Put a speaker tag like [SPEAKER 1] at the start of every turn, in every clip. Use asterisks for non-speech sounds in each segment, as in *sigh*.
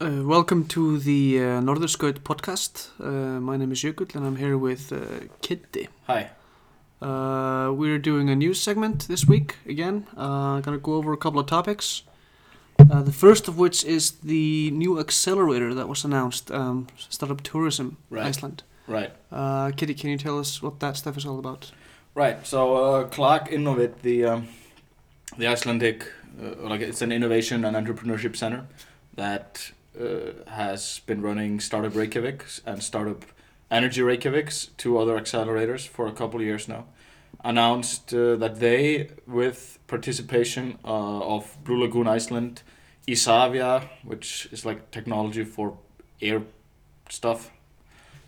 [SPEAKER 1] Uh, welcome to the uh, Norðurskaut podcast. Uh, my name is Jökull and I'm here with uh, Kitty.
[SPEAKER 2] Hi.
[SPEAKER 1] Uh, we're doing a news segment this week again. Uh, gonna go over a couple of topics. Uh, the first of which is the new accelerator that was announced, um, Startup Tourism
[SPEAKER 2] Right.
[SPEAKER 1] Iceland.
[SPEAKER 2] Right.
[SPEAKER 1] Uh, Kitty, can you tell us what that stuff is all about?
[SPEAKER 2] Right. So uh, Clark Innovate, the um, the Icelandic, uh, like it's an innovation and entrepreneurship center that uh, has been running Startup Reykjavik and Startup Energy Reykjavik, two other accelerators for a couple of years now, announced uh, that they, with participation uh, of Blue Lagoon Iceland, Isavia, which is like technology for air stuff,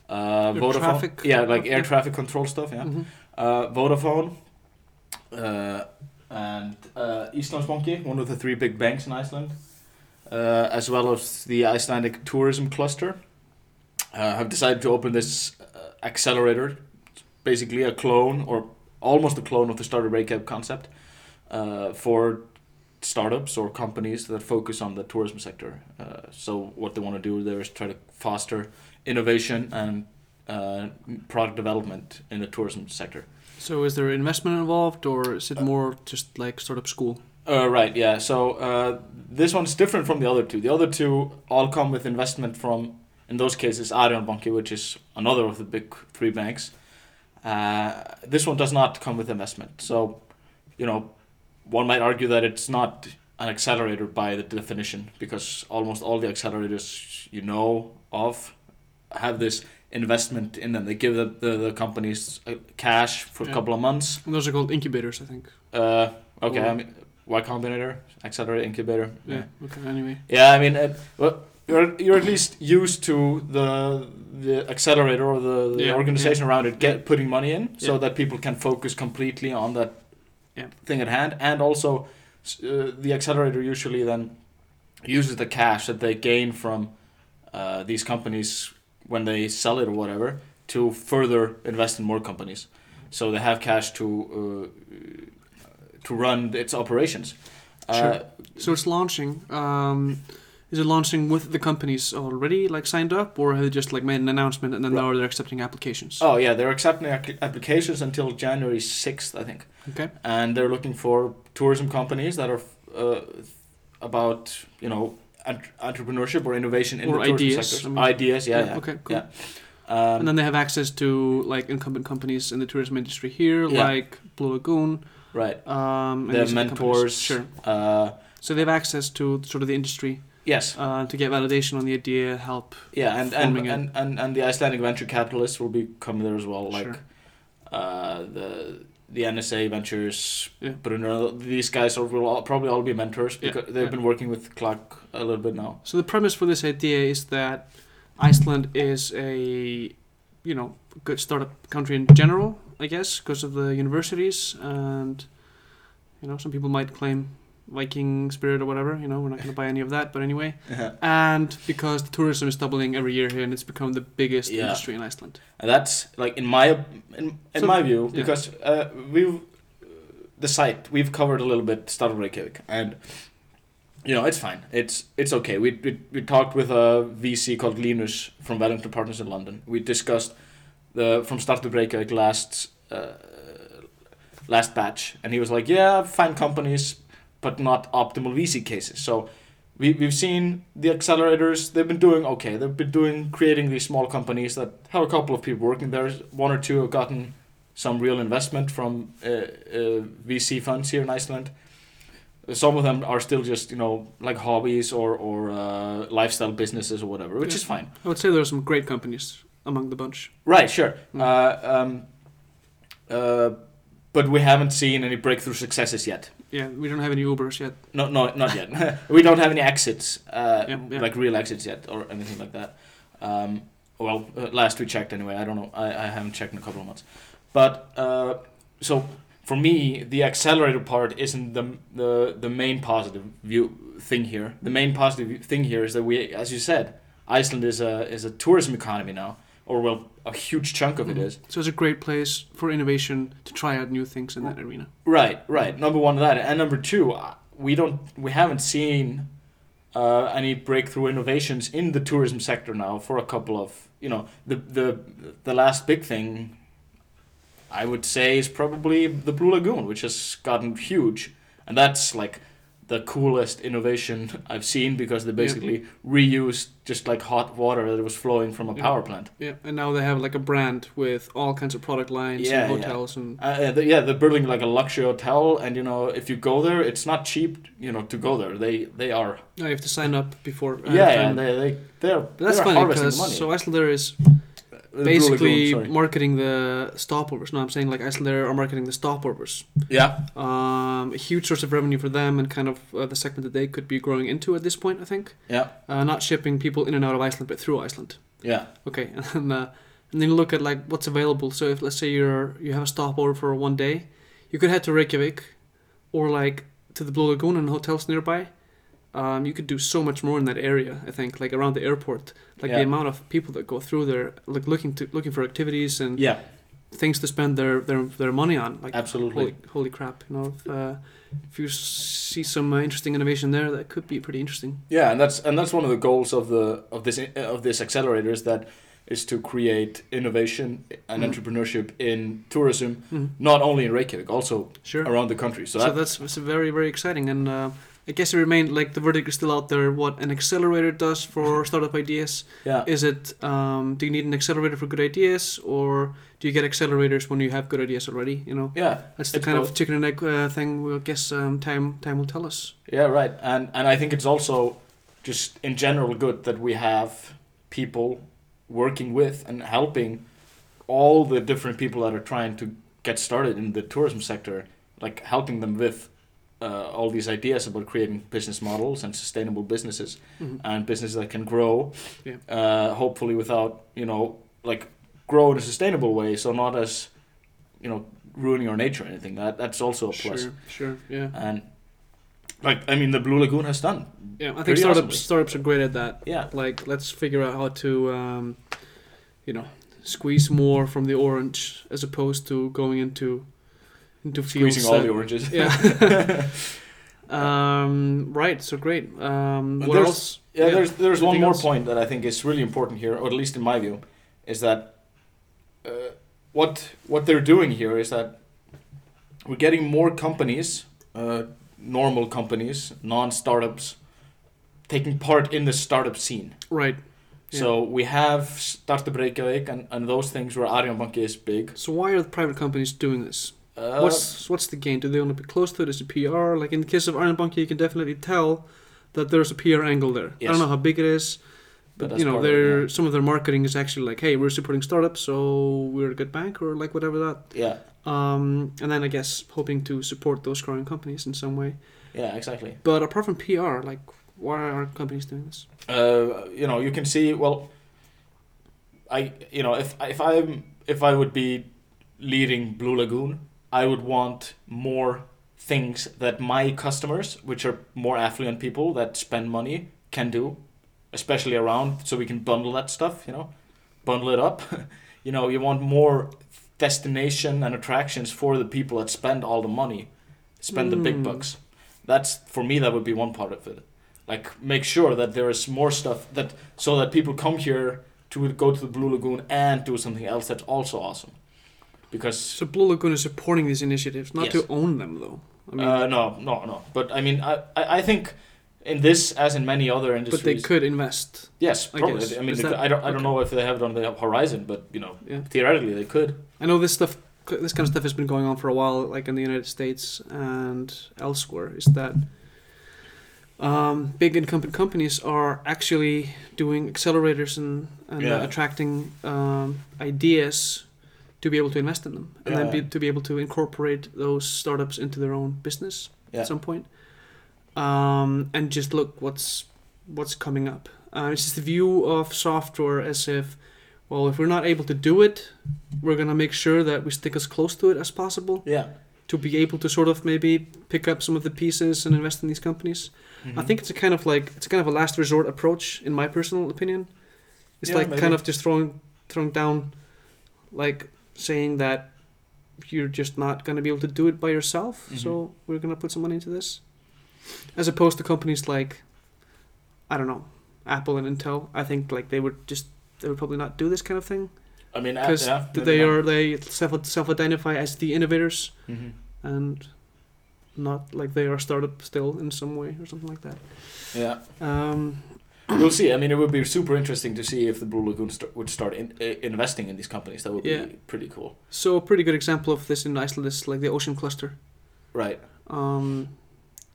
[SPEAKER 2] uh,
[SPEAKER 1] Air
[SPEAKER 2] Vodafone,
[SPEAKER 1] traffic.
[SPEAKER 2] yeah, like air traffic control stuff, yeah
[SPEAKER 1] Mhm.
[SPEAKER 2] uh, Vodafone, uh, and uh, Íslandsbanki, one of the three big banks in Iceland, uh, as well as the Icelandic tourism cluster, uh, have decided to open this uh, accelerator, It's basically a clone or almost a clone of the startup Reykjavik concept, uh, for startups or companies that focus on the tourism sector. Uh, so what they want to do there is try to foster innovation and uh, product development in the tourism sector.
[SPEAKER 1] So, is there investment involved or is it
[SPEAKER 2] Uh,
[SPEAKER 1] more just like startup school?
[SPEAKER 2] Uh, right, yeah. So uh, this one's different from the other two. The other two all come with investment from, in those cases, Arion Banki, which is another of the big three banks. Uh, this one does not come with investment. So, you know, one might argue that it's not an accelerator by the definition because almost all the accelerators you know of have this investment in them. They give the, the, the companies uh, cash for
[SPEAKER 1] Yeah.
[SPEAKER 2] a couple of months
[SPEAKER 1] And those are called incubators, I think.
[SPEAKER 2] uh, okay,
[SPEAKER 1] Or-
[SPEAKER 2] I mean, Y Combinator, Accelerator, Incubator.
[SPEAKER 1] Yeah. Okay. Anyway.
[SPEAKER 2] Yeah, I mean, uh, well, you're, you're at least used to the the accelerator or the, the
[SPEAKER 1] Yeah,
[SPEAKER 2] organization around it get
[SPEAKER 1] Yeah.
[SPEAKER 2] putting money in so
[SPEAKER 1] Yeah.
[SPEAKER 2] that people can focus completely on that
[SPEAKER 1] Yeah.
[SPEAKER 2] thing at hand. And also, s- uh, the accelerator usually then uses the cash that they gain from uh, these companies when they sell it or whatever to further invest in more companies. So they have cash to uh, to run its operations.
[SPEAKER 1] Sure.
[SPEAKER 2] Uh,
[SPEAKER 1] So it's launching. Um, is it launching with the companies already like signed up, or have they just like made an announcement and then now they're accepting applications?
[SPEAKER 2] Oh yeah, they're accepting ac- applications until January sixth, I think,
[SPEAKER 1] Okay.
[SPEAKER 2] and they're looking for tourism companies that are uh, about you know ent- entrepreneurship or innovation in
[SPEAKER 1] Or
[SPEAKER 2] the tourism
[SPEAKER 1] ideas,
[SPEAKER 2] sectors.
[SPEAKER 1] I mean.
[SPEAKER 2] ideas, yeah, yeah.
[SPEAKER 1] Okay. Cool.
[SPEAKER 2] yeah. Um,
[SPEAKER 1] And then they have access to like incumbent companies in the tourism industry here,
[SPEAKER 2] Yeah.
[SPEAKER 1] like Blue Lagoon.
[SPEAKER 2] right,
[SPEAKER 1] Um, and
[SPEAKER 2] they have
[SPEAKER 1] these other companies.
[SPEAKER 2] mentors.
[SPEAKER 1] Sure.
[SPEAKER 2] Uh,
[SPEAKER 1] So they have access to sort of the industry
[SPEAKER 2] yes,
[SPEAKER 1] uh, to get validation on the idea, help.
[SPEAKER 2] yeah, and and,
[SPEAKER 1] Forming a-
[SPEAKER 2] and, and and the Icelandic venture capitalists will be coming there as well, like
[SPEAKER 1] Sure.
[SPEAKER 2] uh, the the NSA ventures.
[SPEAKER 1] Yeah.
[SPEAKER 2] Bruno, these guys are, will all, probably all be mentors
[SPEAKER 1] Yeah,
[SPEAKER 2] because they've
[SPEAKER 1] yeah.
[SPEAKER 2] been working with Clark a little bit now.
[SPEAKER 1] So the premise for this idea is that Iceland is a, you know, good startup country in general, I guess, because of the universities and, you know, some people might claim Viking spirit or whatever. You know, we're not going to buy any of that, but anyway,
[SPEAKER 2] Yeah.
[SPEAKER 1] and because the tourism is doubling every year here and it's become the biggest
[SPEAKER 2] Yeah.
[SPEAKER 1] industry in Iceland.
[SPEAKER 2] And that's like in my in, in
[SPEAKER 1] So-
[SPEAKER 2] my view
[SPEAKER 1] yeah.
[SPEAKER 2] because uh, we've the site we've covered a little bit Startup Reykjavik and you know it's fine it's it's okay we we, we talked with a VC called Linus from Wellington Partners in London we discussed the from Startup Reykjavik last uh, last batch and he was like yeah fine companies but not optimal VC cases so we, we've seen the accelerators they've been doing okay they've been doing creating these small companies that have a couple of people working there one or two have gotten some real investment from uh, uh, vc funds here in iceland some of them are still just you know like hobbies or or uh, lifestyle businesses or whatever which is
[SPEAKER 1] Yeah.
[SPEAKER 2] fine
[SPEAKER 1] I would say there are some great companies among the bunch.
[SPEAKER 2] Right, sure.
[SPEAKER 1] Mm.
[SPEAKER 2] Uh, um, uh, but we haven't seen any breakthrough successes yet.
[SPEAKER 1] Yeah, we don't have any Ubers yet.
[SPEAKER 2] No, no, not yet. *laughs* we don't have any exits, uh,
[SPEAKER 1] Yeah, yeah.
[SPEAKER 2] like real exits yet, or anything like that. Um, well, uh, last we checked anyway. I don't know. I, I haven't checked in a couple of months. But uh, so for me, the accelerator part isn't the the the main positive view thing here. The main positive thing here is that we, as you said, Iceland is a is a tourism economy now, or well, a huge chunk of it is.
[SPEAKER 1] So it's a great place for innovation to try out new things in that arena.
[SPEAKER 2] Right, right. Number one, that, and number two, uh, we don't, we haven't seen uh, any breakthrough innovations in the tourism sector now for a couple of you know the the the last big thing I would say is probably the Blue Lagoon, which has gotten huge, and that's like the coolest innovation *laughs* I've seen because they
[SPEAKER 1] Yeah.
[SPEAKER 2] basically reused just like hot water that was flowing from a
[SPEAKER 1] Yeah.
[SPEAKER 2] power plant.
[SPEAKER 1] Yeah, and now they have like a brand with all kinds of product lines
[SPEAKER 2] Yeah,
[SPEAKER 1] and
[SPEAKER 2] yeah.
[SPEAKER 1] hotels and
[SPEAKER 2] Uh, yeah, they- yeah, they're building like a luxury hotel, and you know if you go there, it's not cheap, you know, to go there. They they are
[SPEAKER 1] no, you have to sign up before. ahead of
[SPEAKER 2] yeah,
[SPEAKER 1] time.
[SPEAKER 2] and they they they're,
[SPEAKER 1] But that's
[SPEAKER 2] they're
[SPEAKER 1] funny
[SPEAKER 2] harvesting
[SPEAKER 1] because
[SPEAKER 2] money.
[SPEAKER 1] so Icelandair is
[SPEAKER 2] Uh, the Blue
[SPEAKER 1] basically
[SPEAKER 2] Lagoon, sorry.
[SPEAKER 1] marketing the stopovers. No, I'm saying like Icelandair are marketing the stopovers.
[SPEAKER 2] yeah,
[SPEAKER 1] Um, a huge source of revenue for them and kind of uh, the segment that they could be growing into at this point. I think
[SPEAKER 2] yeah,
[SPEAKER 1] uh, not shipping people in and out of Iceland, but through Iceland.
[SPEAKER 2] yeah,
[SPEAKER 1] Okay, *laughs* and then, uh, and then you look at like what's available. So if let's say you're you have a stopover for one day, you could head to Reykjavik, or like to the Blue Lagoon and hotels nearby. Um, you could do so much more in that area. I think like around the airport, like the
[SPEAKER 2] Yeah.
[SPEAKER 1] amount of people that go through there, like looking to looking for activities and
[SPEAKER 2] yeah,
[SPEAKER 1] things to spend their their, their money on. Like
[SPEAKER 2] absolutely.
[SPEAKER 1] holy holy crap, you know. If, uh, if you s- see some uh, interesting innovation there, that could be pretty interesting.
[SPEAKER 2] Yeah, and that's and that's one of the goals of the of this of this accelerator is that is to create innovation and
[SPEAKER 1] Mhm.
[SPEAKER 2] entrepreneurship in tourism,
[SPEAKER 1] Mhm.
[SPEAKER 2] not only in Reykjavik, also
[SPEAKER 1] Sure.
[SPEAKER 2] around the country.
[SPEAKER 1] So,
[SPEAKER 2] So, that,
[SPEAKER 1] that's, it's very very exciting, and uh, I guess it remained like the verdict is still out there. What an accelerator does
[SPEAKER 2] *laughs*
[SPEAKER 1] for startup ideas
[SPEAKER 2] yeah,
[SPEAKER 1] is it? Um, do you need an accelerator for good ideas, or do you get accelerators when you have good ideas already? You know,
[SPEAKER 2] yeah,
[SPEAKER 1] that's the
[SPEAKER 2] It's
[SPEAKER 1] kind
[SPEAKER 2] both.
[SPEAKER 1] of chicken and egg uh, thing. We'll guess um, time time will tell us.
[SPEAKER 2] yeah, right. And and I think it's also just in general good that we have people working with and helping all the different people that are trying to get started in the tourism sector, like helping them with uh, all these ideas about creating business models and sustainable businesses.
[SPEAKER 1] Mhm.
[SPEAKER 2] and businesses that can grow,
[SPEAKER 1] Yeah.
[SPEAKER 2] uh, hopefully without you know like grow in a sustainable way, so not as you know ruining our nature or anything. That that's also a plus. Uh,
[SPEAKER 1] Sure, sure, yeah,
[SPEAKER 2] And like I mean, the Blue Lagoon has done.
[SPEAKER 1] yeah. I think
[SPEAKER 2] Pretty
[SPEAKER 1] startups
[SPEAKER 2] awesome.
[SPEAKER 1] startups are great at that.
[SPEAKER 2] Yeah,
[SPEAKER 1] Like, let's figure out how to, um, you know, squeeze more from the orange as opposed to going into into fields
[SPEAKER 2] squeezing all
[SPEAKER 1] that-
[SPEAKER 2] the oranges. *laughs*
[SPEAKER 1] Yeah. um, right. So great. Um,
[SPEAKER 2] But
[SPEAKER 1] what
[SPEAKER 2] there's-
[SPEAKER 1] else?
[SPEAKER 2] Yeah, there's there's one
[SPEAKER 1] Anything
[SPEAKER 2] more
[SPEAKER 1] else?
[SPEAKER 2] point that I think is really important here, or at least in my view, is that uh, what what they're doing here is that we're getting more companies, uh, normal companies, non startups, taking part in the startup scene.
[SPEAKER 1] right.
[SPEAKER 2] So we have Startup Reykjavik and, and those things where Arion Banki is big.
[SPEAKER 1] So why are the private companies doing this?
[SPEAKER 2] Uh,
[SPEAKER 1] what's what's the gain? Do they want to be close to it? Is it PR? Like in the case of Iron Bank, you can definitely tell that there's a PR angle there. I
[SPEAKER 2] Yes.
[SPEAKER 1] don't know how big it is,
[SPEAKER 2] But
[SPEAKER 1] but
[SPEAKER 2] that's
[SPEAKER 1] you know,
[SPEAKER 2] part of it,
[SPEAKER 1] their
[SPEAKER 2] yeah.
[SPEAKER 1] some of their marketing is actually like, hey, we're supporting startups, so we're a good bank or like whatever that.
[SPEAKER 2] yeah,
[SPEAKER 1] Um, and then I guess hoping to support those growing companies in some way.
[SPEAKER 2] yeah, exactly.
[SPEAKER 1] But apart from PR, like why are companies doing this?
[SPEAKER 2] uh, you know, you can see well. I you know if if I'm if I would be leading Blue Lagoon, I would want more things that my customers, which are more affluent people that spend money, can do, especially around so we can bundle that stuff. You know, bundle it up. *laughs* you know, you want more destination and attractions for the people that spend all the money, spend the big
[SPEAKER 1] Mm.
[SPEAKER 2] bucks. That's for me. That would be one part of it like make sure that there is more stuff that so that people come here to go to the Blue Lagoon and do something else that's also awesome. Because
[SPEAKER 1] So Blue Lagoon is supporting these initiatives, not
[SPEAKER 2] Yes.
[SPEAKER 1] to own them though. I mean,
[SPEAKER 2] uh, no, no, no. But I mean, I, I I think in this as in many other
[SPEAKER 1] but they
[SPEAKER 2] industries,
[SPEAKER 1] could invest.
[SPEAKER 2] yes,
[SPEAKER 1] I
[SPEAKER 2] probably. I,
[SPEAKER 1] guess.
[SPEAKER 2] mean,
[SPEAKER 1] Is
[SPEAKER 2] they could-
[SPEAKER 1] that-
[SPEAKER 2] I don't I don't
[SPEAKER 1] okay.
[SPEAKER 2] know if they have it on the horizon, but you know,
[SPEAKER 1] Yeah,
[SPEAKER 2] theoretically they could.
[SPEAKER 1] I know this stuff, this kind of stuff has been going on for a while, like in the United States and elsewhere. Is that um, big incumbent companies are actually doing accelerators and, and
[SPEAKER 2] Yeah.
[SPEAKER 1] uh, attracting um, ideas to be able to invest in them, and then
[SPEAKER 2] Yeah.
[SPEAKER 1] be, to be able to incorporate those startups into their own business
[SPEAKER 2] Yeah.
[SPEAKER 1] at some point. Um, and just look what's what's coming up. Uh, it's just the view of software as if, well, if we're not able to do it, we're gonna make sure that we stick as close to it as possible
[SPEAKER 2] Yeah,
[SPEAKER 1] to be able to sort of maybe pick up some of the pieces and invest in these companies. I
[SPEAKER 2] Mhm.
[SPEAKER 1] think it's a kind of like it's kind of a last resort approach, in my personal opinion. It's
[SPEAKER 2] Yeah,
[SPEAKER 1] like
[SPEAKER 2] maybe.
[SPEAKER 1] kind of just throwing throwing down, like saying that you're just not gonna be able to do it by
[SPEAKER 2] Mm-hmm.
[SPEAKER 1] yourself. So we're gonna put some money into this, as opposed to companies like I don't know, Apple and Intel. I think like they would just they would probably not do this kind of thing
[SPEAKER 2] I mean, uh,
[SPEAKER 1] because
[SPEAKER 2] yeah,
[SPEAKER 1] they are they self self identify as the innovators
[SPEAKER 2] hmm
[SPEAKER 1] and not like they are startup still in some way or something like that.
[SPEAKER 2] Yeah,
[SPEAKER 1] Um,
[SPEAKER 2] we'll see. I mean, it would be super interesting to see if the Blue Lagoon st- would start in, uh, investing in these companies. That would
[SPEAKER 1] Yeah.
[SPEAKER 2] be pretty cool,
[SPEAKER 1] so a pretty good example of this in Iceland is like the Ocean Cluster.
[SPEAKER 2] right?
[SPEAKER 1] Um,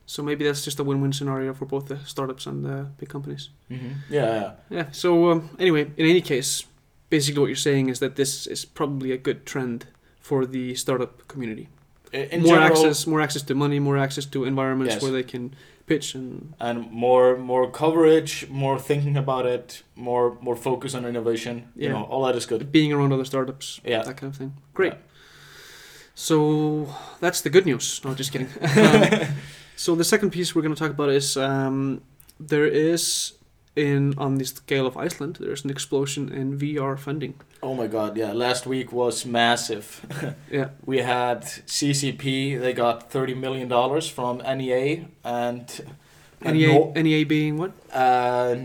[SPEAKER 1] so maybe that's just a win-win scenario for both the startups and the big companies.
[SPEAKER 2] Mm-hmm. Yeah, yeah.
[SPEAKER 1] Yeah. So um, anyway, in any case, basically what you're saying is that this is probably a good trend for the startup community.
[SPEAKER 2] I- In
[SPEAKER 1] more
[SPEAKER 2] general,
[SPEAKER 1] access, more access to money, more access to environments
[SPEAKER 2] Yes.
[SPEAKER 1] where they can pitch and
[SPEAKER 2] and more more coverage, more thinking about it, more more focus on innovation. You
[SPEAKER 1] Yeah.
[SPEAKER 2] know, all that is good.
[SPEAKER 1] being around other startups,
[SPEAKER 2] Yeah.
[SPEAKER 1] that kind of thing. Great.
[SPEAKER 2] Yeah.
[SPEAKER 1] So that's the good news. No, just kidding. Um, so the second piece we're going to talk about is um, there is in on the scale of Iceland, there's an explosion in VR funding.
[SPEAKER 2] Oh my god, yeah. Last week was massive. *laughs*
[SPEAKER 1] Yeah.
[SPEAKER 2] we had CCP, they got 30 million dollars from NEA and and
[SPEAKER 1] NEA,
[SPEAKER 2] Uh, no-
[SPEAKER 1] NEA E being what?
[SPEAKER 2] uh,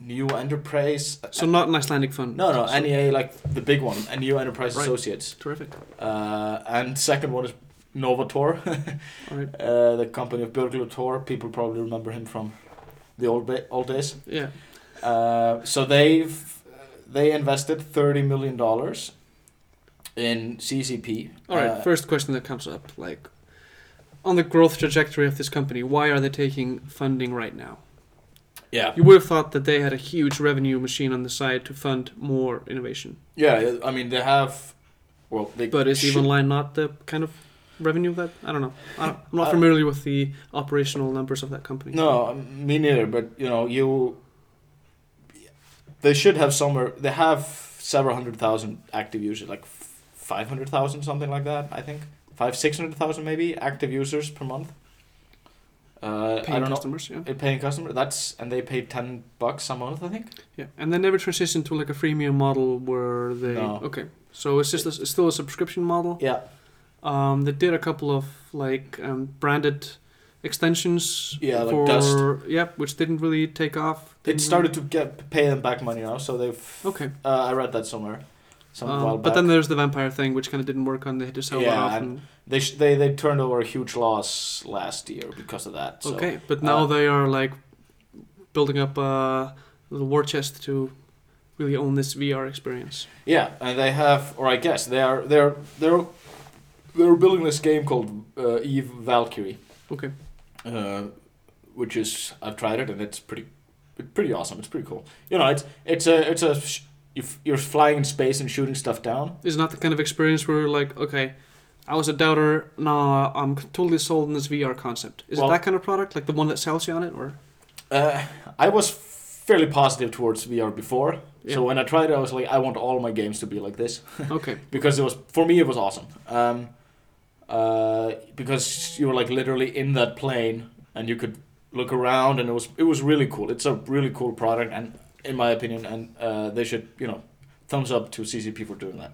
[SPEAKER 2] new enterprise.
[SPEAKER 1] So not an Icelandic fund.
[SPEAKER 2] no, no,
[SPEAKER 1] So-
[SPEAKER 2] NEA like the big one, and New Enterprise
[SPEAKER 1] Right.
[SPEAKER 2] Associates.
[SPEAKER 1] Terrific.
[SPEAKER 2] Uh, and second one is Novator, *laughs*
[SPEAKER 1] All right.
[SPEAKER 2] uh, the company of Björn Tor. People probably remember him from the old ba- old days.
[SPEAKER 1] Yeah.
[SPEAKER 2] Uh, so they've they invested 30 million dollars in CCP.
[SPEAKER 1] All right.
[SPEAKER 2] Uh,
[SPEAKER 1] First question that comes up, like, on the growth trajectory of this company, why are they taking funding right now?
[SPEAKER 2] yeah.
[SPEAKER 1] You would have thought that they had a huge revenue machine on the side to fund more innovation.
[SPEAKER 2] Yeah, I mean they have well they
[SPEAKER 1] But is
[SPEAKER 2] should-
[SPEAKER 1] Evil Line not the kind of revenue that I don't know? I don't, I'm not
[SPEAKER 2] Uh,
[SPEAKER 1] familiar with the operational numbers of that company.
[SPEAKER 2] No, me neither. But you know, you they should have somewhere. They have several hundred thousand active users, like five hundred thousand, something like that. I think five six hundred thousand maybe active users per month. Uh, I
[SPEAKER 1] paying
[SPEAKER 2] don't
[SPEAKER 1] customers. Yeah,
[SPEAKER 2] know. A paying customer. That's and they pay ten bucks a month. I think.
[SPEAKER 1] yeah, and they never transitioned to like a freemium model where they.
[SPEAKER 2] No.
[SPEAKER 1] Okay, so it's just a, it's still a subscription model.
[SPEAKER 2] Yeah.
[SPEAKER 1] Um, they did a couple of like um, branded extensions.
[SPEAKER 2] Yeah, like
[SPEAKER 1] for,
[SPEAKER 2] Dust.
[SPEAKER 1] Yep, which didn't really take off.
[SPEAKER 2] It
[SPEAKER 1] didn't
[SPEAKER 2] started to get pay them back money now, so they've.
[SPEAKER 1] really- Mm-hmm. Okay,
[SPEAKER 2] Uh, I read that somewhere. Some
[SPEAKER 1] um,
[SPEAKER 2] while
[SPEAKER 1] but
[SPEAKER 2] back.
[SPEAKER 1] then there's the vampire thing, which kind of didn't work on. They had to sell that
[SPEAKER 2] Yeah,
[SPEAKER 1] off.
[SPEAKER 2] and-
[SPEAKER 1] and-
[SPEAKER 2] they sh- they they turned over a huge loss last year because of that. So.
[SPEAKER 1] okay, but now
[SPEAKER 2] uh,
[SPEAKER 1] they are like building up a little war chest to really own this VR experience.
[SPEAKER 2] Yeah, and they have, or I guess they are, they're they're they're building this game called uh, Eve Valkyrie,
[SPEAKER 1] Okay,
[SPEAKER 2] uh, which is I've tried it and it's pretty pretty awesome. It's pretty cool. You know, it's it's a it's a sh- if you're flying in space and shooting stuff down.
[SPEAKER 1] it's not the kind of experience where like, okay, I was a doubter. Now uh, I'm totally sold on this VR concept. Is
[SPEAKER 2] Well-
[SPEAKER 1] it that kind of product, like the one that sells you on it,
[SPEAKER 2] *laughs*
[SPEAKER 1] or
[SPEAKER 2] Uh, I was fairly positive towards VR before,
[SPEAKER 1] Yeah.
[SPEAKER 2] so when I tried it, I was like, I want all my games to be like this.
[SPEAKER 1] okay,
[SPEAKER 2] because it was for me it was awesome um, uh, because you were like literally in that plane and you could look around and it was it was really cool it's a really cool product and in my opinion and uh, they should you know thumbs up to ccp for doing that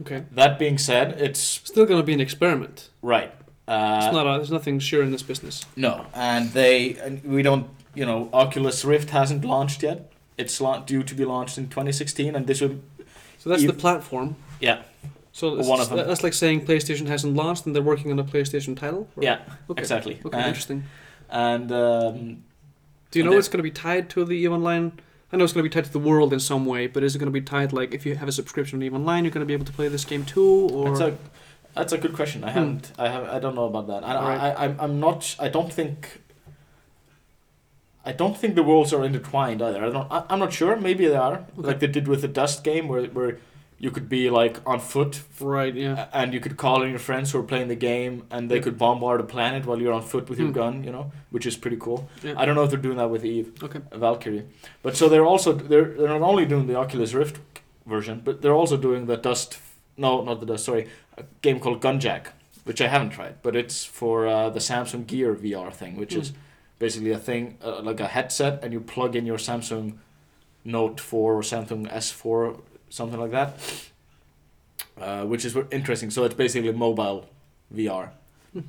[SPEAKER 1] okay?
[SPEAKER 2] that being said it's
[SPEAKER 1] Still gonna be an experiment.
[SPEAKER 2] right uh,
[SPEAKER 1] It's not. A, there's nothing sure in this business.
[SPEAKER 2] no and they and we don't you know oculus rift hasn't launched yet it's la- due to be launched in 2016 and this will
[SPEAKER 1] So that's
[SPEAKER 2] You-
[SPEAKER 1] the platform.
[SPEAKER 2] yeah
[SPEAKER 1] So
[SPEAKER 2] Or
[SPEAKER 1] that's,
[SPEAKER 2] one of them.
[SPEAKER 1] that's like saying PlayStation hasn't launched and they're working on a PlayStation title. or-
[SPEAKER 2] yeah
[SPEAKER 1] Okay.
[SPEAKER 2] exactly Uh,
[SPEAKER 1] Okay.
[SPEAKER 2] and,
[SPEAKER 1] interesting.
[SPEAKER 2] and um,
[SPEAKER 1] Do you
[SPEAKER 2] and
[SPEAKER 1] know
[SPEAKER 2] the-
[SPEAKER 1] it's going to be tied to the EVE Online? I know it's going to be tied to the world in some way, but is it going to be tied like if you have a subscription to EVE Online, you're going to be able to play this game too? Or
[SPEAKER 2] That's a that's a good question. I
[SPEAKER 1] Hmm.
[SPEAKER 2] haven't. I have. I don't know about that. I,
[SPEAKER 1] Alright.
[SPEAKER 2] I, I I'm I'm not. s- I don't think. I don't think the worlds are intertwined either. I don't. I, I'm not sure. Maybe they are.
[SPEAKER 1] Okay.
[SPEAKER 2] Like they did with the dust game, where where you could be like on foot.
[SPEAKER 1] right, yeah,
[SPEAKER 2] a- And you could call in your friends who are playing the game, and they
[SPEAKER 1] Yeah.
[SPEAKER 2] could bombard a planet while you're on foot with your
[SPEAKER 1] Hmm.
[SPEAKER 2] gun. You know, which is pretty cool.
[SPEAKER 1] Yeah.
[SPEAKER 2] I don't know if they're doing that with Eve.
[SPEAKER 1] okay,
[SPEAKER 2] Valkyrie. But so they're also they're they're not only doing the Oculus Rift version, but they're also doing the Dust. No, not the Dust. Sorry, a game called Gunjack, which I haven't tried, but it's for uh, the Samsung Gear VR thing, which
[SPEAKER 1] Hmm.
[SPEAKER 2] is basically a thing uh, like a headset, and you plug in your Samsung Note Four or Samsung S Four, something like that. Uh, which is w- interesting. So it's basically mobile VR.
[SPEAKER 1] Hmm.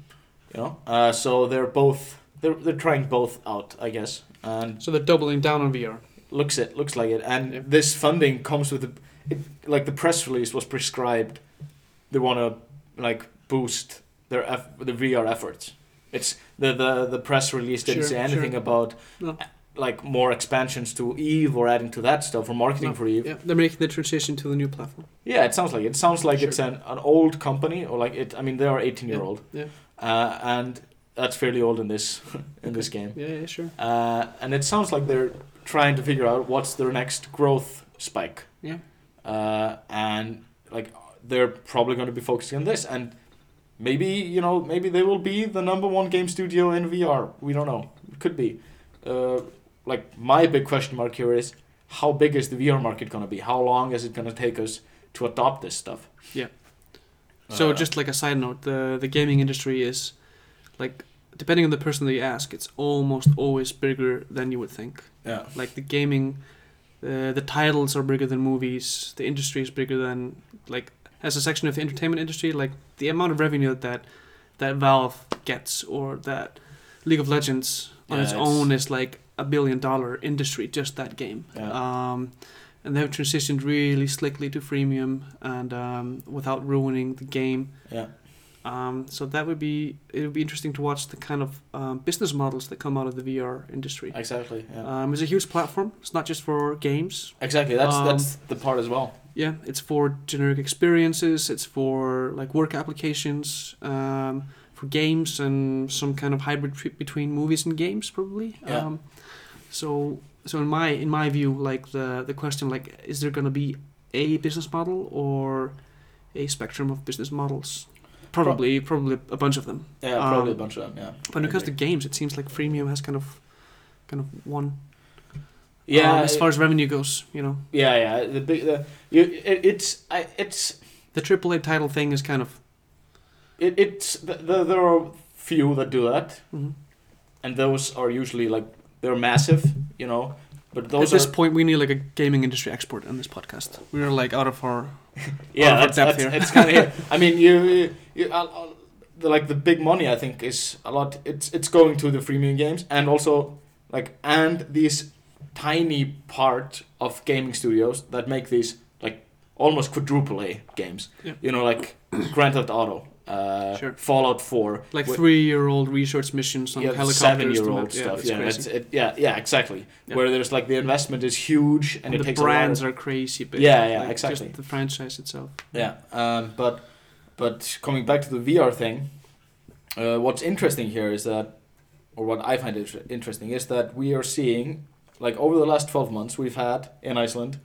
[SPEAKER 2] You know, uh, so they're both they're they're trying both out, I guess, and
[SPEAKER 1] So they're doubling down on VR.
[SPEAKER 2] looks it looks like it. And
[SPEAKER 1] Yep.
[SPEAKER 2] this funding comes with the, it, like the press release was prescribed. They want to like boost their eff- the VR efforts. It's the the the press release didn't
[SPEAKER 1] Sure,
[SPEAKER 2] say
[SPEAKER 1] sure.
[SPEAKER 2] anything about
[SPEAKER 1] No.
[SPEAKER 2] uh, like more expansions to Eve or adding to that stuff or marketing
[SPEAKER 1] No,
[SPEAKER 2] for Eve.
[SPEAKER 1] Yeah, they're making the transition to the new platform.
[SPEAKER 2] Yeah, it sounds like it. It sounds like
[SPEAKER 1] Sure.
[SPEAKER 2] it's an, an old company or like it. I mean, they are eighteen year old,
[SPEAKER 1] Yeah,
[SPEAKER 2] uh, and that's fairly old in this *laughs* in this game.
[SPEAKER 1] yeah, yeah, sure.
[SPEAKER 2] Uh, and it sounds like they're trying to figure out what's their next growth spike.
[SPEAKER 1] Yeah.
[SPEAKER 2] Uh, and like they're probably going to be focusing on this, and maybe you know maybe they will be the number one game studio in VR. We don't know. Could be. Uh, like my big question mark here is how big is the VR market going to be? How long is it going to take us to adopt this stuff?
[SPEAKER 1] Yeah. So
[SPEAKER 2] Uh,
[SPEAKER 1] just like a side note, the the gaming industry is like depending on the person that you ask, it's almost always bigger than you would think.
[SPEAKER 2] yeah.
[SPEAKER 1] Like the gaming, uh, the titles are bigger than movies. The industry is bigger than like as a section of the entertainment industry, like the amount of revenue that that Valve gets or that League of Legends on
[SPEAKER 2] Yeah,
[SPEAKER 1] its,
[SPEAKER 2] it's-
[SPEAKER 1] own is like a billion dollar industry just that game. Um, and they've transitioned really slickly to freemium and um, without ruining the game.
[SPEAKER 2] Yeah.
[SPEAKER 1] Um, so that would be it would be interesting to watch the kind of um, business models that come out of the VR industry.
[SPEAKER 2] Exactly. Yeah.
[SPEAKER 1] Um, it's a huge platform. It's not just for games.
[SPEAKER 2] exactly. That's
[SPEAKER 1] um,
[SPEAKER 2] that's the part as well.
[SPEAKER 1] Yeah, it's for generic experiences. It's for like work applications, um, for games, and some kind of hybrid tri- between movies and games, probably.
[SPEAKER 2] Yeah.
[SPEAKER 1] Um, so, so in my in my view, like the the question, like, is there gonna be a business model or a spectrum of business models? Probably, probably a bunch of them.
[SPEAKER 2] Yeah, probably
[SPEAKER 1] um,
[SPEAKER 2] a bunch of them. Yeah.
[SPEAKER 1] But when
[SPEAKER 2] I
[SPEAKER 1] it comes to
[SPEAKER 2] agree.
[SPEAKER 1] games, it seems like freemium has kind of, kind of won.
[SPEAKER 2] yeah,
[SPEAKER 1] um, as
[SPEAKER 2] it-
[SPEAKER 1] far as revenue goes, you know.
[SPEAKER 2] Yeah, yeah. The big, the, you, it, it's, I, it's,
[SPEAKER 1] the AAA title thing is kind of
[SPEAKER 2] it, it's. The, the, there are few that do that,
[SPEAKER 1] mhm.
[SPEAKER 2] and those are usually like they're massive, you know. But
[SPEAKER 1] at
[SPEAKER 2] those
[SPEAKER 1] this
[SPEAKER 2] are
[SPEAKER 1] point we need like a gaming industry expert on this podcast. We are like out of our
[SPEAKER 2] yeah,
[SPEAKER 1] out of
[SPEAKER 2] that's,
[SPEAKER 1] our depth
[SPEAKER 2] that's, it's
[SPEAKER 1] *laughs*
[SPEAKER 2] kind of. I mean, you, you, you I'll, I'll, the, like the big money. I think is a lot. It's it's going to the freemium games, and also like and these tiny part of gaming studios that make these like almost quadruple A games.
[SPEAKER 1] Yeah.
[SPEAKER 2] You know, like Grand Theft Auto, uh,
[SPEAKER 1] Sure.
[SPEAKER 2] Fallout Four,
[SPEAKER 1] like
[SPEAKER 2] wh-
[SPEAKER 1] three-year-old research missions on
[SPEAKER 2] yeah, the
[SPEAKER 1] helicopters.
[SPEAKER 2] seven-year-old
[SPEAKER 1] to-
[SPEAKER 2] stuff.
[SPEAKER 1] it's
[SPEAKER 2] Yeah,
[SPEAKER 1] crazy.
[SPEAKER 2] that's it, yeah, yeah, exactly.
[SPEAKER 1] Yeah.
[SPEAKER 2] Where there's like the investment is huge, and it
[SPEAKER 1] the
[SPEAKER 2] takes
[SPEAKER 1] brands
[SPEAKER 2] a lot.
[SPEAKER 1] are crazy. But
[SPEAKER 2] Yeah, yeah, exactly.
[SPEAKER 1] Just the franchise itself.
[SPEAKER 2] Of, yeah, um, but but coming back to the VR thing, uh, what's interesting here is that, or what I find inter- interesting is that we are seeing, like over the last twelve months, we've had in Iceland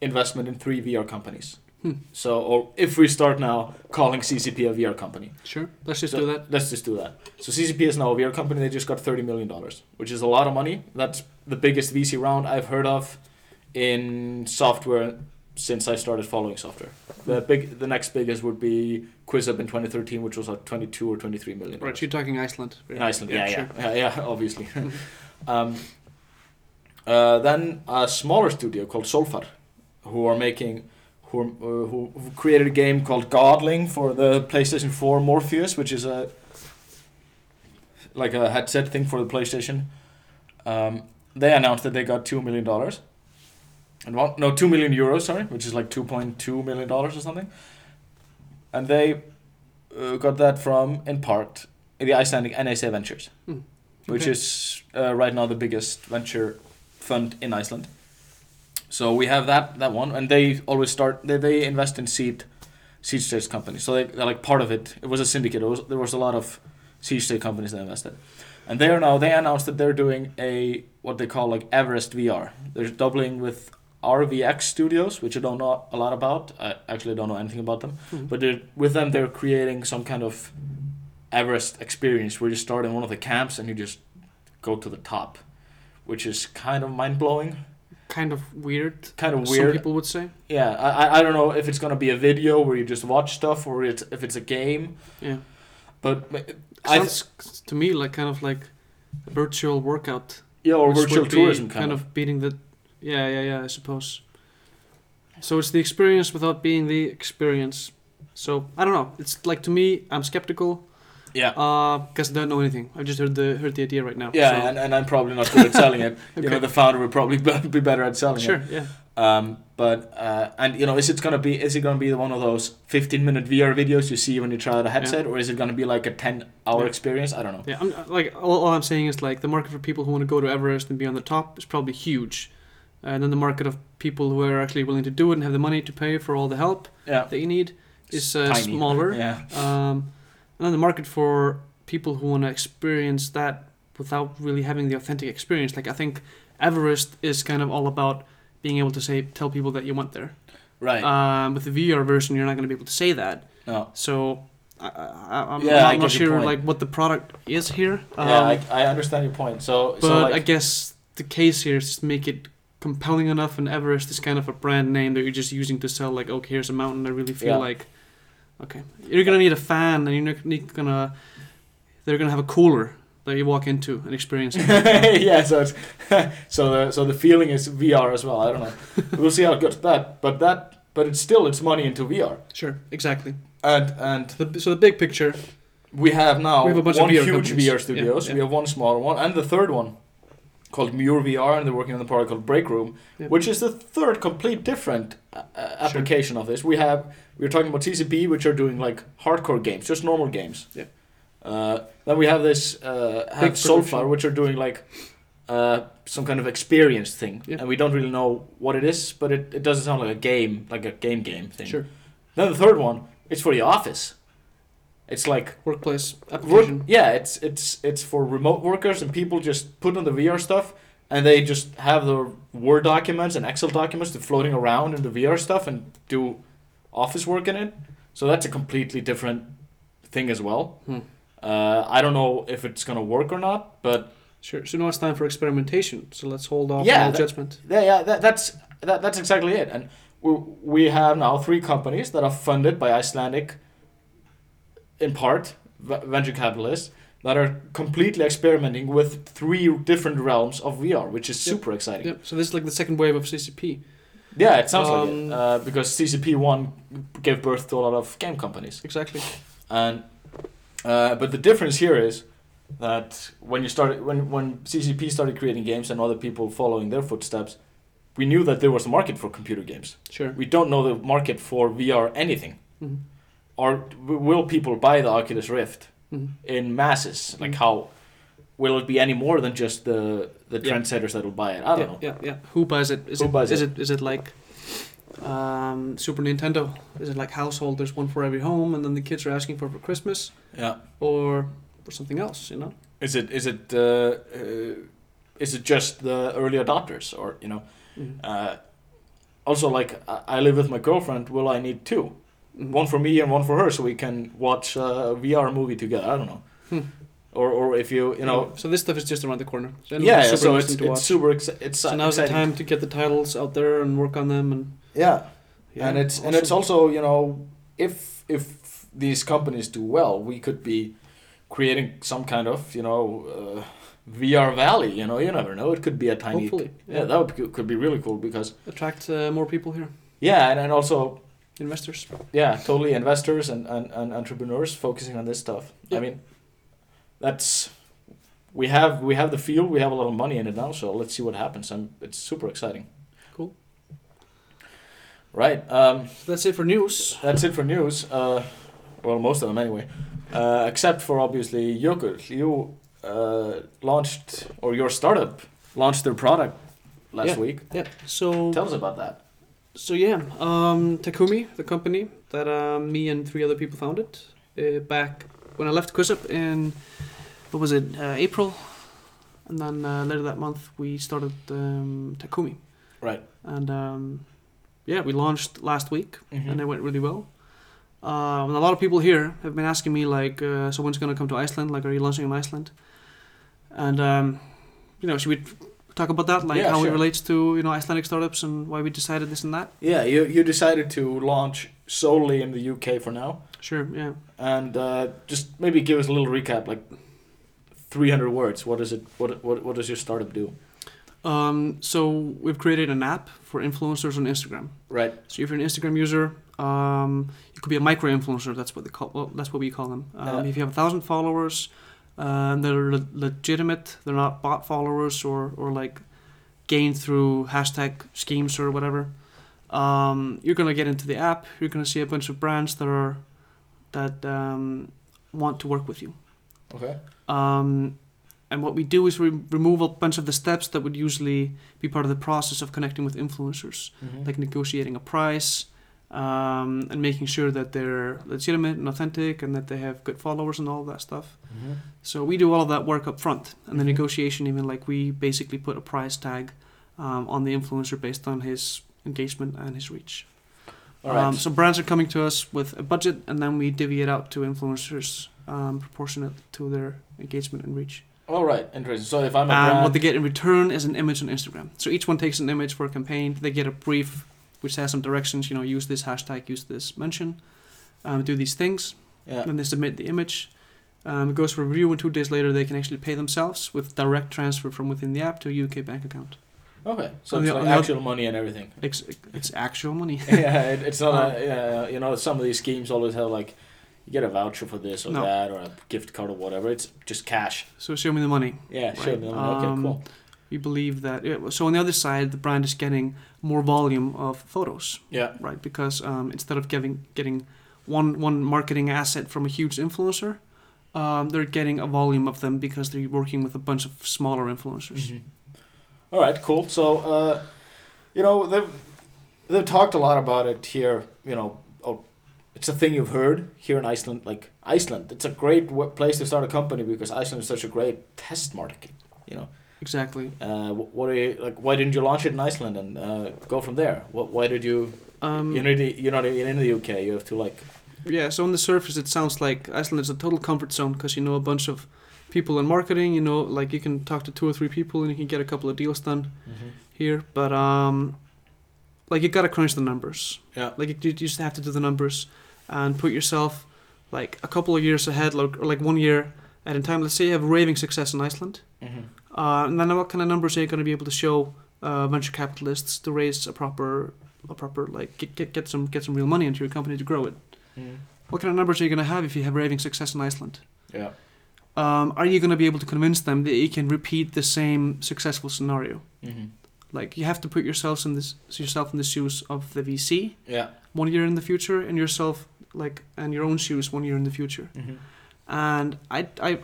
[SPEAKER 2] investment in three VR companies.
[SPEAKER 1] Hmm.
[SPEAKER 2] So, or if we start now calling CCP a VR company,
[SPEAKER 1] Sure, let's just
[SPEAKER 2] So,
[SPEAKER 1] do that.
[SPEAKER 2] Let's just do that. So CCP is now a VR company. They just got thirty million dollars, which is a lot of money. That's the biggest VC round I've heard of in software since I started following software. The big, the next biggest would be QuizUp in twenty thirteen, which was at twenty two or twenty three million.
[SPEAKER 1] Right, you're talking Iceland.
[SPEAKER 2] in Iceland, yeah, yeah,
[SPEAKER 1] sure.
[SPEAKER 2] yeah, yeah, *laughs* obviously. um, uh, then a smaller studio called Solfar, who are making. Who, are- uh, who, who created a game called Godling for the PlayStation 4 Morpheus, which is a like a headset thing for the PlayStation. Um, they announced that they got two million dollars, and one no two million euros, sorry, which is like two point two million dollars or something. And they uh, got that from in part the Icelandic NASA Ventures,
[SPEAKER 1] Hmm.
[SPEAKER 2] which
[SPEAKER 1] Okay.
[SPEAKER 2] is uh, right now the biggest venture fund in Iceland. So we have that that one, and they always start they, they invest in seed seed stage companies. So they, they're like part of it. It was a syndicate. It was, there was a lot of seed stage companies that invested. And they are now they announced that they're doing a what they call like Everest VR. They're doubling with RVX Studios, which I don't know a lot about. I actually don't know anything about them.
[SPEAKER 1] Mhm.
[SPEAKER 2] But they're, with them, they're creating some kind of Everest experience where you start in one of the camps and you just go to the top, which is kind of mind blowing,
[SPEAKER 1] Kind of weird.
[SPEAKER 2] kind of
[SPEAKER 1] Some
[SPEAKER 2] weird.
[SPEAKER 1] people would say.
[SPEAKER 2] yeah, I, I- I don't know if it's gonna be a video where you just watch stuff or it's, if it's a game,
[SPEAKER 1] Yeah,
[SPEAKER 2] but I th-
[SPEAKER 1] sounds to me like kind of like a virtual workout
[SPEAKER 2] yeah, or
[SPEAKER 1] Which
[SPEAKER 2] virtual
[SPEAKER 1] would be
[SPEAKER 2] tourism
[SPEAKER 1] kind of beating the yeah yeah yeah i suppose so it's the experience without being the experience so i don't know it's like to me i'm skeptical
[SPEAKER 2] Yeah.
[SPEAKER 1] Because I don't know anything. I've just heard the heard the idea right now.
[SPEAKER 2] Yeah,
[SPEAKER 1] so-
[SPEAKER 2] and, and I'm probably not good at selling
[SPEAKER 1] *laughs*
[SPEAKER 2] it. You know,
[SPEAKER 1] Okay.
[SPEAKER 2] the founder would probably *laughs* be be better at selling it.
[SPEAKER 1] sure. Yeah.
[SPEAKER 2] Um, but uh, and you know, is it gonna be is it gonna be one of those 15 minute VR videos you see when you try out a headset, or is it gonna be like a 10 hour
[SPEAKER 1] Yeah.
[SPEAKER 2] experience? I don't know.
[SPEAKER 1] Yeah, I'm, like all, all I'm saying is like the market for people who want to go to Everest and be on the top is probably huge, and then the market of people who are actually willing to do it and have the money to pay for all the help
[SPEAKER 2] Yeah,
[SPEAKER 1] that you need is uh,
[SPEAKER 2] Tiny.
[SPEAKER 1] smaller.
[SPEAKER 2] yeah,
[SPEAKER 1] Um, and then the market for people who want to experience that without really having the authentic experience. Like I think Everest is kind of all about being able to say tell people that you went there.
[SPEAKER 2] right.
[SPEAKER 1] Um, with the VR version, you're not going to be able to say that.
[SPEAKER 2] no,
[SPEAKER 1] So I, I, I'm
[SPEAKER 2] Yeah, I
[SPEAKER 1] not,
[SPEAKER 2] get your
[SPEAKER 1] not sure
[SPEAKER 2] point.
[SPEAKER 1] like what the product is here. Um,
[SPEAKER 2] yeah, I, I understand your point. So,
[SPEAKER 1] but
[SPEAKER 2] so like,
[SPEAKER 1] I guess the case here is to make it compelling enough, and Everest is kind of a brand name that you're just using to sell like, okay, here's a mountain. I really feel
[SPEAKER 2] Yeah.
[SPEAKER 1] like, okay, you're gonna need a fan, and you're not- you're gonna, they're gonna have a cooler that you walk into and
[SPEAKER 2] *laughs*
[SPEAKER 1] experience. it.
[SPEAKER 2] yeah, so it's, *laughs* so the so the feeling is VR as well.
[SPEAKER 1] *laughs*
[SPEAKER 2] I don't know. we'll see how it goes. That, but that, but it's still it's money into VR.
[SPEAKER 1] sure, exactly.
[SPEAKER 2] And and
[SPEAKER 1] So the, so the big picture.
[SPEAKER 2] we have now
[SPEAKER 1] We have a bunch of
[SPEAKER 2] one
[SPEAKER 1] VR
[SPEAKER 2] huge
[SPEAKER 1] companies.
[SPEAKER 2] VR studios.
[SPEAKER 1] Yeah,
[SPEAKER 2] We
[SPEAKER 1] yeah.
[SPEAKER 2] have one smaller one, and the third one called Muir VR, and they're working on a product called Break Room,
[SPEAKER 1] Yeah.
[SPEAKER 2] which is the third complete different uh, uh, application of this. We have we are talking about TCP, which are doing like hardcore games, just normal games.
[SPEAKER 1] Yeah.
[SPEAKER 2] Uh, then we have this uh, have Soulfire,
[SPEAKER 1] production.
[SPEAKER 2] which are doing like uh, some kind of experience thing,
[SPEAKER 1] Yeah.
[SPEAKER 2] and we don't really know what it is, but it, it doesn't sound like a game, like a game game thing.
[SPEAKER 1] Sure,
[SPEAKER 2] Then the third one, it's for the office. It's like
[SPEAKER 1] workplace
[SPEAKER 2] Work,
[SPEAKER 1] application.
[SPEAKER 2] yeah, it's it's it's for remote workers and people just put on the VR stuff and they just have their Word documents and Excel documents to floating around in the VR stuff and do office work in it. So that's a completely different thing as well.
[SPEAKER 1] Hmm.
[SPEAKER 2] Uh, I don't know if it's gonna work or not, but
[SPEAKER 1] Sure. So now it's time for experimentation. So let's hold off
[SPEAKER 2] Yeah,
[SPEAKER 1] on all
[SPEAKER 2] that-
[SPEAKER 1] judgment.
[SPEAKER 2] yeah, yeah that, that's that, that's exactly it. And we we have now three companies that are funded by Icelandic, in part, v- venture capitalists that are completely experimenting with three different realms of VR, which is
[SPEAKER 1] Yep.
[SPEAKER 2] super exciting.
[SPEAKER 1] Yep. So this is like the second wave of CCP.
[SPEAKER 2] Yeah, it sounds like
[SPEAKER 1] Um,
[SPEAKER 2] it uh, because CCP one gave birth to a lot of game companies.
[SPEAKER 1] Exactly.
[SPEAKER 2] And uh, but the difference here is that when you started when when CCP started creating games and other people following their footsteps, we knew that there was a market for computer games.
[SPEAKER 1] Sure.
[SPEAKER 2] We don't know the market for VR anything.
[SPEAKER 1] Mhm.
[SPEAKER 2] Or w- will people buy the Oculus Rift
[SPEAKER 1] Mhm.
[SPEAKER 2] in masses? Like
[SPEAKER 1] Mhm.
[SPEAKER 2] how will it be any more than just the the
[SPEAKER 1] Yeah.
[SPEAKER 2] trendsetters that will buy it? I don't
[SPEAKER 1] yeah,
[SPEAKER 2] know.
[SPEAKER 1] Yeah, yeah. Who buys it? Is
[SPEAKER 2] Who
[SPEAKER 1] it,
[SPEAKER 2] buys
[SPEAKER 1] is
[SPEAKER 2] it?
[SPEAKER 1] it? Is it like um, Super Nintendo? Is it like household? There's one for every home, and then the kids are asking for it for Christmas
[SPEAKER 2] Yeah.
[SPEAKER 1] or for something else. You know.
[SPEAKER 2] Is it is it uh, uh, is it just the early adopters or you know?
[SPEAKER 1] Mhm.
[SPEAKER 2] Uh, also, like I I live with my girlfriend. Will I need two?
[SPEAKER 1] Mhm.
[SPEAKER 2] Mm-hmm. One for me and one for her, so we can watch a VR movie together. I don't know.
[SPEAKER 1] Hmm.
[SPEAKER 2] Or or if you you know.
[SPEAKER 1] So this stuff is just around the corner. So
[SPEAKER 2] Yeah,
[SPEAKER 1] super
[SPEAKER 2] so it's,
[SPEAKER 1] interesting to
[SPEAKER 2] it's
[SPEAKER 1] watch.
[SPEAKER 2] super exci- it's
[SPEAKER 1] So now's the
[SPEAKER 2] exciting.
[SPEAKER 1] time to get the titles out there and work on them, and
[SPEAKER 2] Yeah,
[SPEAKER 1] yeah,
[SPEAKER 2] and it's and it's
[SPEAKER 1] awesome.
[SPEAKER 2] also you know if if these companies do well, we could be creating some kind of you know uh, VR valley. You know, you never know. It could be a tiny.
[SPEAKER 1] hopefully
[SPEAKER 2] Yeah, that would be, could be really cool because
[SPEAKER 1] attract uh, more people here,
[SPEAKER 2] yeah, and, and also
[SPEAKER 1] investors.
[SPEAKER 2] yeah, totally investors and, and, and entrepreneurs focusing on this stuff. I
[SPEAKER 1] Yeah.
[SPEAKER 2] mean, that's we have we have the field, we have a lot of money in it now, so let's see what happens. I'm, it's super exciting.
[SPEAKER 1] Cool.
[SPEAKER 2] Right. Um,
[SPEAKER 1] So that's it for news.
[SPEAKER 2] That's it for news. Uh, well, most of them anyway, uh, except for obviously Yokult. You uh, launched, or your startup launched their product last week.
[SPEAKER 1] Yeah. So
[SPEAKER 2] Tell us about that.
[SPEAKER 1] So yeah, um, Takumi, the company that um, me and three other people founded uh, back when I left Quizup in what was it uh, April, and then uh, later that month we started um, Takumi,
[SPEAKER 2] Right.
[SPEAKER 1] and um, yeah, we launched last week and it
[SPEAKER 2] Mhm.
[SPEAKER 1] went really well. Um, and a lot of people here have been asking me like, uh, someone's gonna come to Iceland, like, are you launching in Iceland? And um, you know, should we talk about that, like
[SPEAKER 2] Yeah,
[SPEAKER 1] how
[SPEAKER 2] sure.
[SPEAKER 1] it relates to you know Icelandic startups and why we decided this and that?
[SPEAKER 2] Yeah, you, you decided to launch solely in the UK for now,
[SPEAKER 1] Sure, yeah.
[SPEAKER 2] and uh, just maybe give us a little recap, like three hundred words. What is it? What what what does your startup do?
[SPEAKER 1] Um, so we've created an app for influencers on Instagram.
[SPEAKER 2] Right.
[SPEAKER 1] So if you're an Instagram user, um, you could be a micro influencer. That's what they call. Well, that's what we call them. Um,
[SPEAKER 2] Yeah.
[SPEAKER 1] If you have a thousand followers, uh, and they're le- legitimate. They're not bot followers or or like gained through hashtag schemes or whatever. Um, you're gonna get into the app. You're gonna see a bunch of brands that are that um, want to work with you.
[SPEAKER 2] Okay.
[SPEAKER 1] Um, and what we do is we remove a bunch of the steps that would usually be part of the process of connecting with influencers, like negotiating a price um, and making sure that they're legitimate and authentic and that they have good followers and all that stuff. So we do all of that work up front. And the
[SPEAKER 2] Mhm.
[SPEAKER 1] negotiation, even like we basically put a price tag um, on the influencer based on his engagement and his reach.
[SPEAKER 2] All right.
[SPEAKER 1] Um, so brands are coming to us with a budget and then we divvy it out to influencers um, proportionate to their engagement and reach.
[SPEAKER 2] All right. Interesting. So if I'm
[SPEAKER 1] And
[SPEAKER 2] a
[SPEAKER 1] Um, what
[SPEAKER 2] brand,
[SPEAKER 1] they get in return is an image on Instagram. So each one takes an image for a campaign. They get a brief which has some directions. You know, use this hashtag, use this mention, um, do these things.
[SPEAKER 2] yeah.
[SPEAKER 1] Then they submit the image. Um, it goes for review, and two days later they can actually pay themselves with direct transfer from within the app to a UK bank account.
[SPEAKER 2] Okay. So
[SPEAKER 1] On
[SPEAKER 2] it's
[SPEAKER 1] the-
[SPEAKER 2] like
[SPEAKER 1] on the oth-
[SPEAKER 2] actual money and everything.
[SPEAKER 1] It's, it's actual money.
[SPEAKER 2] *laughs* yeah, it, it's
[SPEAKER 1] Uh,
[SPEAKER 2] not a, yeah, you know, some of these schemes always have like, you get a voucher for this or
[SPEAKER 1] No.
[SPEAKER 2] that or a gift card or whatever. It's just cash.
[SPEAKER 1] So show me the money.
[SPEAKER 2] Yeah, sure.
[SPEAKER 1] Right.
[SPEAKER 2] no, no, okay,
[SPEAKER 1] Um,
[SPEAKER 2] cool.
[SPEAKER 1] We believe that. yeah, so on the other side, the brand is getting more volume of photos.
[SPEAKER 2] Yeah.
[SPEAKER 1] right? Because um, instead of giving getting one one marketing asset from a huge influencer, um, they're getting a volume of them because they're working with a bunch of smaller
[SPEAKER 2] Mm-hmm.
[SPEAKER 1] influencers.
[SPEAKER 2] All right, cool. So, uh, you know, they've they've talked a lot about it here. You know, oh, it's a thing you've heard here in Iceland. Like Iceland, it's a great w- place to start a company because Iceland is such a great test market. You know,
[SPEAKER 1] Exactly.
[SPEAKER 2] uh, wh- what are you, like? Why didn't you launch it in Iceland and uh, go from there? What? Why did you?
[SPEAKER 1] Um,
[SPEAKER 2] you know, the- you're not in the UK. You have to like.
[SPEAKER 1] yeah. So on the surface, it sounds like Iceland is a total comfort zone because you know a bunch of people in marketing. You know, like you can talk to two or three people and you can get a couple of deals done here. But um, like you gotta crunch the numbers.
[SPEAKER 2] Yeah.
[SPEAKER 1] Like you, you just have to do the numbers and put yourself like a couple of years ahead, like, or like one year at a time. Let's say you have raving success in Iceland, uh, and then what kind of numbers are you going to be able to show uh, venture capitalists to raise a proper, a proper like get, get get some get some real money into your company to grow it? What kind of numbers are you going to have if you have raving success in Iceland?
[SPEAKER 2] Yeah.
[SPEAKER 1] Um, are you going to be able to convince them that you can repeat the same successful scenario? Like you have to put yourselves in this yourself in the shoes of the VC
[SPEAKER 2] Yeah.
[SPEAKER 1] one year in the future and yourself like and your own shoes one year in the future and i i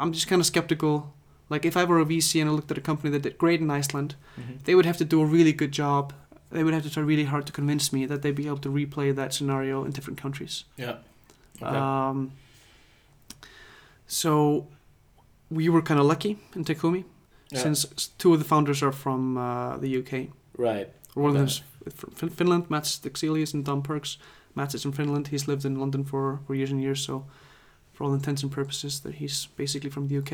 [SPEAKER 1] i'm just kind of skeptical like if i were a vc and i looked at a company that did great in iceland they would have to do a really good job they would have to try really hard to convince me that they'd be able to replay that scenario in different countries
[SPEAKER 2] Yeah. Okay.
[SPEAKER 1] um, so we were kind of lucky in takumi
[SPEAKER 2] Yeah.
[SPEAKER 1] since s- two of the founders are from uh, the uk
[SPEAKER 2] right.
[SPEAKER 1] or one of
[SPEAKER 2] Yeah.
[SPEAKER 1] them's from fin- Finland. Mats Dexelius and Don Perks. Mats is from Finland. He's lived in London for, for years and years. So, for all intents and purposes, that he's basically from the UK.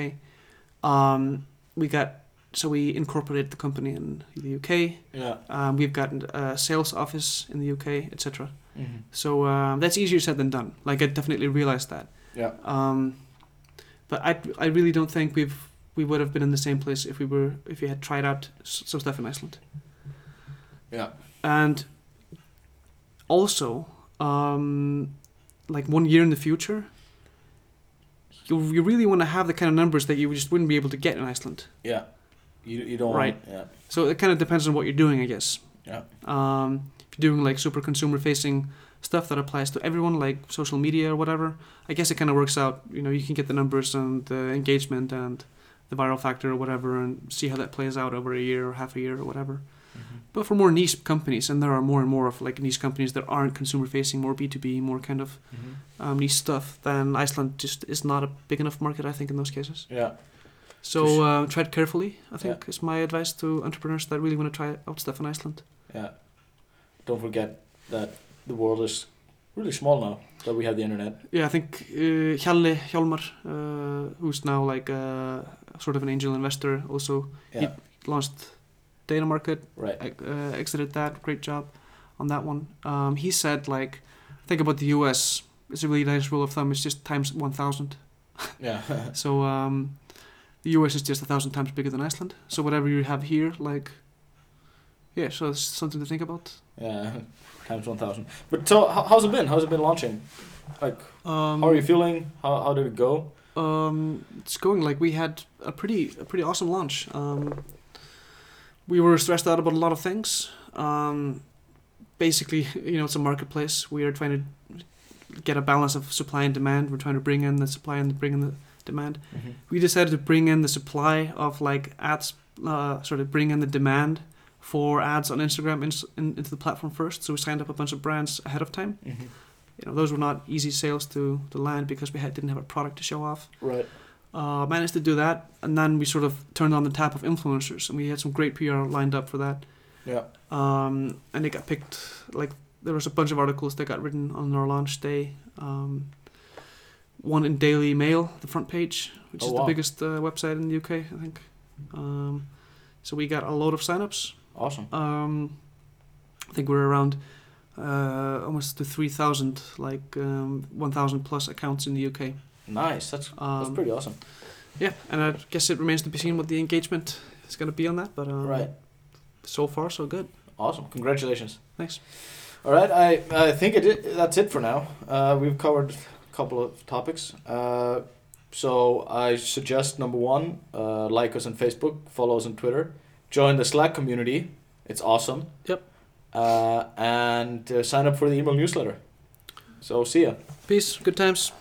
[SPEAKER 1] Um, we got so we incorporated the company in the UK.
[SPEAKER 2] Yeah.
[SPEAKER 1] Um, we've gotten a sales office in the UK, etc. So um, that's easier said than done. Like I definitely realized that.
[SPEAKER 2] Yeah.
[SPEAKER 1] Um, but I, I really don't think we've we would have been in the same place if we were if we had tried out s- some stuff in Iceland.
[SPEAKER 2] Yeah.
[SPEAKER 1] And also, um, like one year in the future, you you really want to have the kind of numbers that you just wouldn't be able to get in Iceland.
[SPEAKER 2] Yeah. You, you don't
[SPEAKER 1] Right.
[SPEAKER 2] want. Yeah.
[SPEAKER 1] So it kind of depends on what you're doing, I guess.
[SPEAKER 2] Yeah.
[SPEAKER 1] Um, if you're doing like super consumer facing stuff that applies to everyone, like social media or whatever, I guess it kind of works out. You know, you can get the numbers and the engagement and the viral factor or whatever, and see how that plays out over a year or half a year or whatever. But for more niche companies, and there are more and more of like niche companies that aren't consumer facing, more B two B, more kind of um, niche stuff, then Iceland just is not a big enough market, I think, in those cases.
[SPEAKER 2] Yeah.
[SPEAKER 1] So uh, tread carefully. I think
[SPEAKER 2] Yeah.
[SPEAKER 1] is my advice to entrepreneurs that really want to try out stuff in Iceland.
[SPEAKER 2] Yeah. Don't forget that the world is really small now that we have the internet.
[SPEAKER 1] Yeah, I think uh, Hjalle Hjalmar, uh, who's now like uh, sort of an angel investor, also
[SPEAKER 2] Yeah.
[SPEAKER 1] Yep. launched Data Market,
[SPEAKER 2] Right.
[SPEAKER 1] uh, exited that. Great job on that one. Um, he said like, think about the U.S. It's a really nice rule of thumb. It's just times one thousand.
[SPEAKER 2] Yeah.
[SPEAKER 1] So um, the the US is just a thousand times bigger than Iceland. So whatever you have here, like, yeah, so it's something to think about.
[SPEAKER 2] *laughs* Yeah, times one thousand. But so, how, how's it been? How's it been launching? Like,
[SPEAKER 1] Um,
[SPEAKER 2] how are you feeling? How how did it go?
[SPEAKER 1] Um, it's going like we had a pretty a pretty awesome launch. Um, we were stressed out about a lot of things. Um, basically, *laughs* you know, it's a marketplace. We are trying to get a balance of supply and demand. We're trying to bring in the supply and bring in the demand. We decided to bring in the supply of like ads, uh, sort of bring in the demand for ads on Instagram ins in, into the platform first. So we signed up a bunch of brands ahead of time. You know, those were not easy sales to, to land because we had, didn't have a product to show off
[SPEAKER 2] Right.
[SPEAKER 1] uh, managed to do that, and then we sort of turned on the tap of influencers, and we had some great PR lined up for that.
[SPEAKER 2] Yeah.
[SPEAKER 1] Um, and it got picked. Like there was a bunch of articles that got written on our launch day. Um, one in Daily Mail, the front page, which
[SPEAKER 2] Oh,
[SPEAKER 1] is
[SPEAKER 2] wow.
[SPEAKER 1] the biggest uh, website in the UK, I think. Um, so we got a load of signups.
[SPEAKER 2] Awesome.
[SPEAKER 1] Um, I think we're around uh, almost to three thousand, like um, one thousand plus accounts in the UK.
[SPEAKER 2] Nice. That's
[SPEAKER 1] Um,
[SPEAKER 2] that's pretty awesome.
[SPEAKER 1] yeah, and I guess it remains to be seen what the engagement is going to be on that, but um,
[SPEAKER 2] Right.
[SPEAKER 1] so far so good.
[SPEAKER 2] Awesome. Congratulations.
[SPEAKER 1] Thanks.
[SPEAKER 2] All right. I I think it, i that's it for now. Uh, we've covered a couple of topics. Uh, so I suggest number one, uh, like us on Facebook, follow us on Twitter, join the Slack community. It's awesome.
[SPEAKER 1] Yep.
[SPEAKER 2] Uh, and uh, sign up for the email newsletter. So see ya.
[SPEAKER 1] Peace, good times.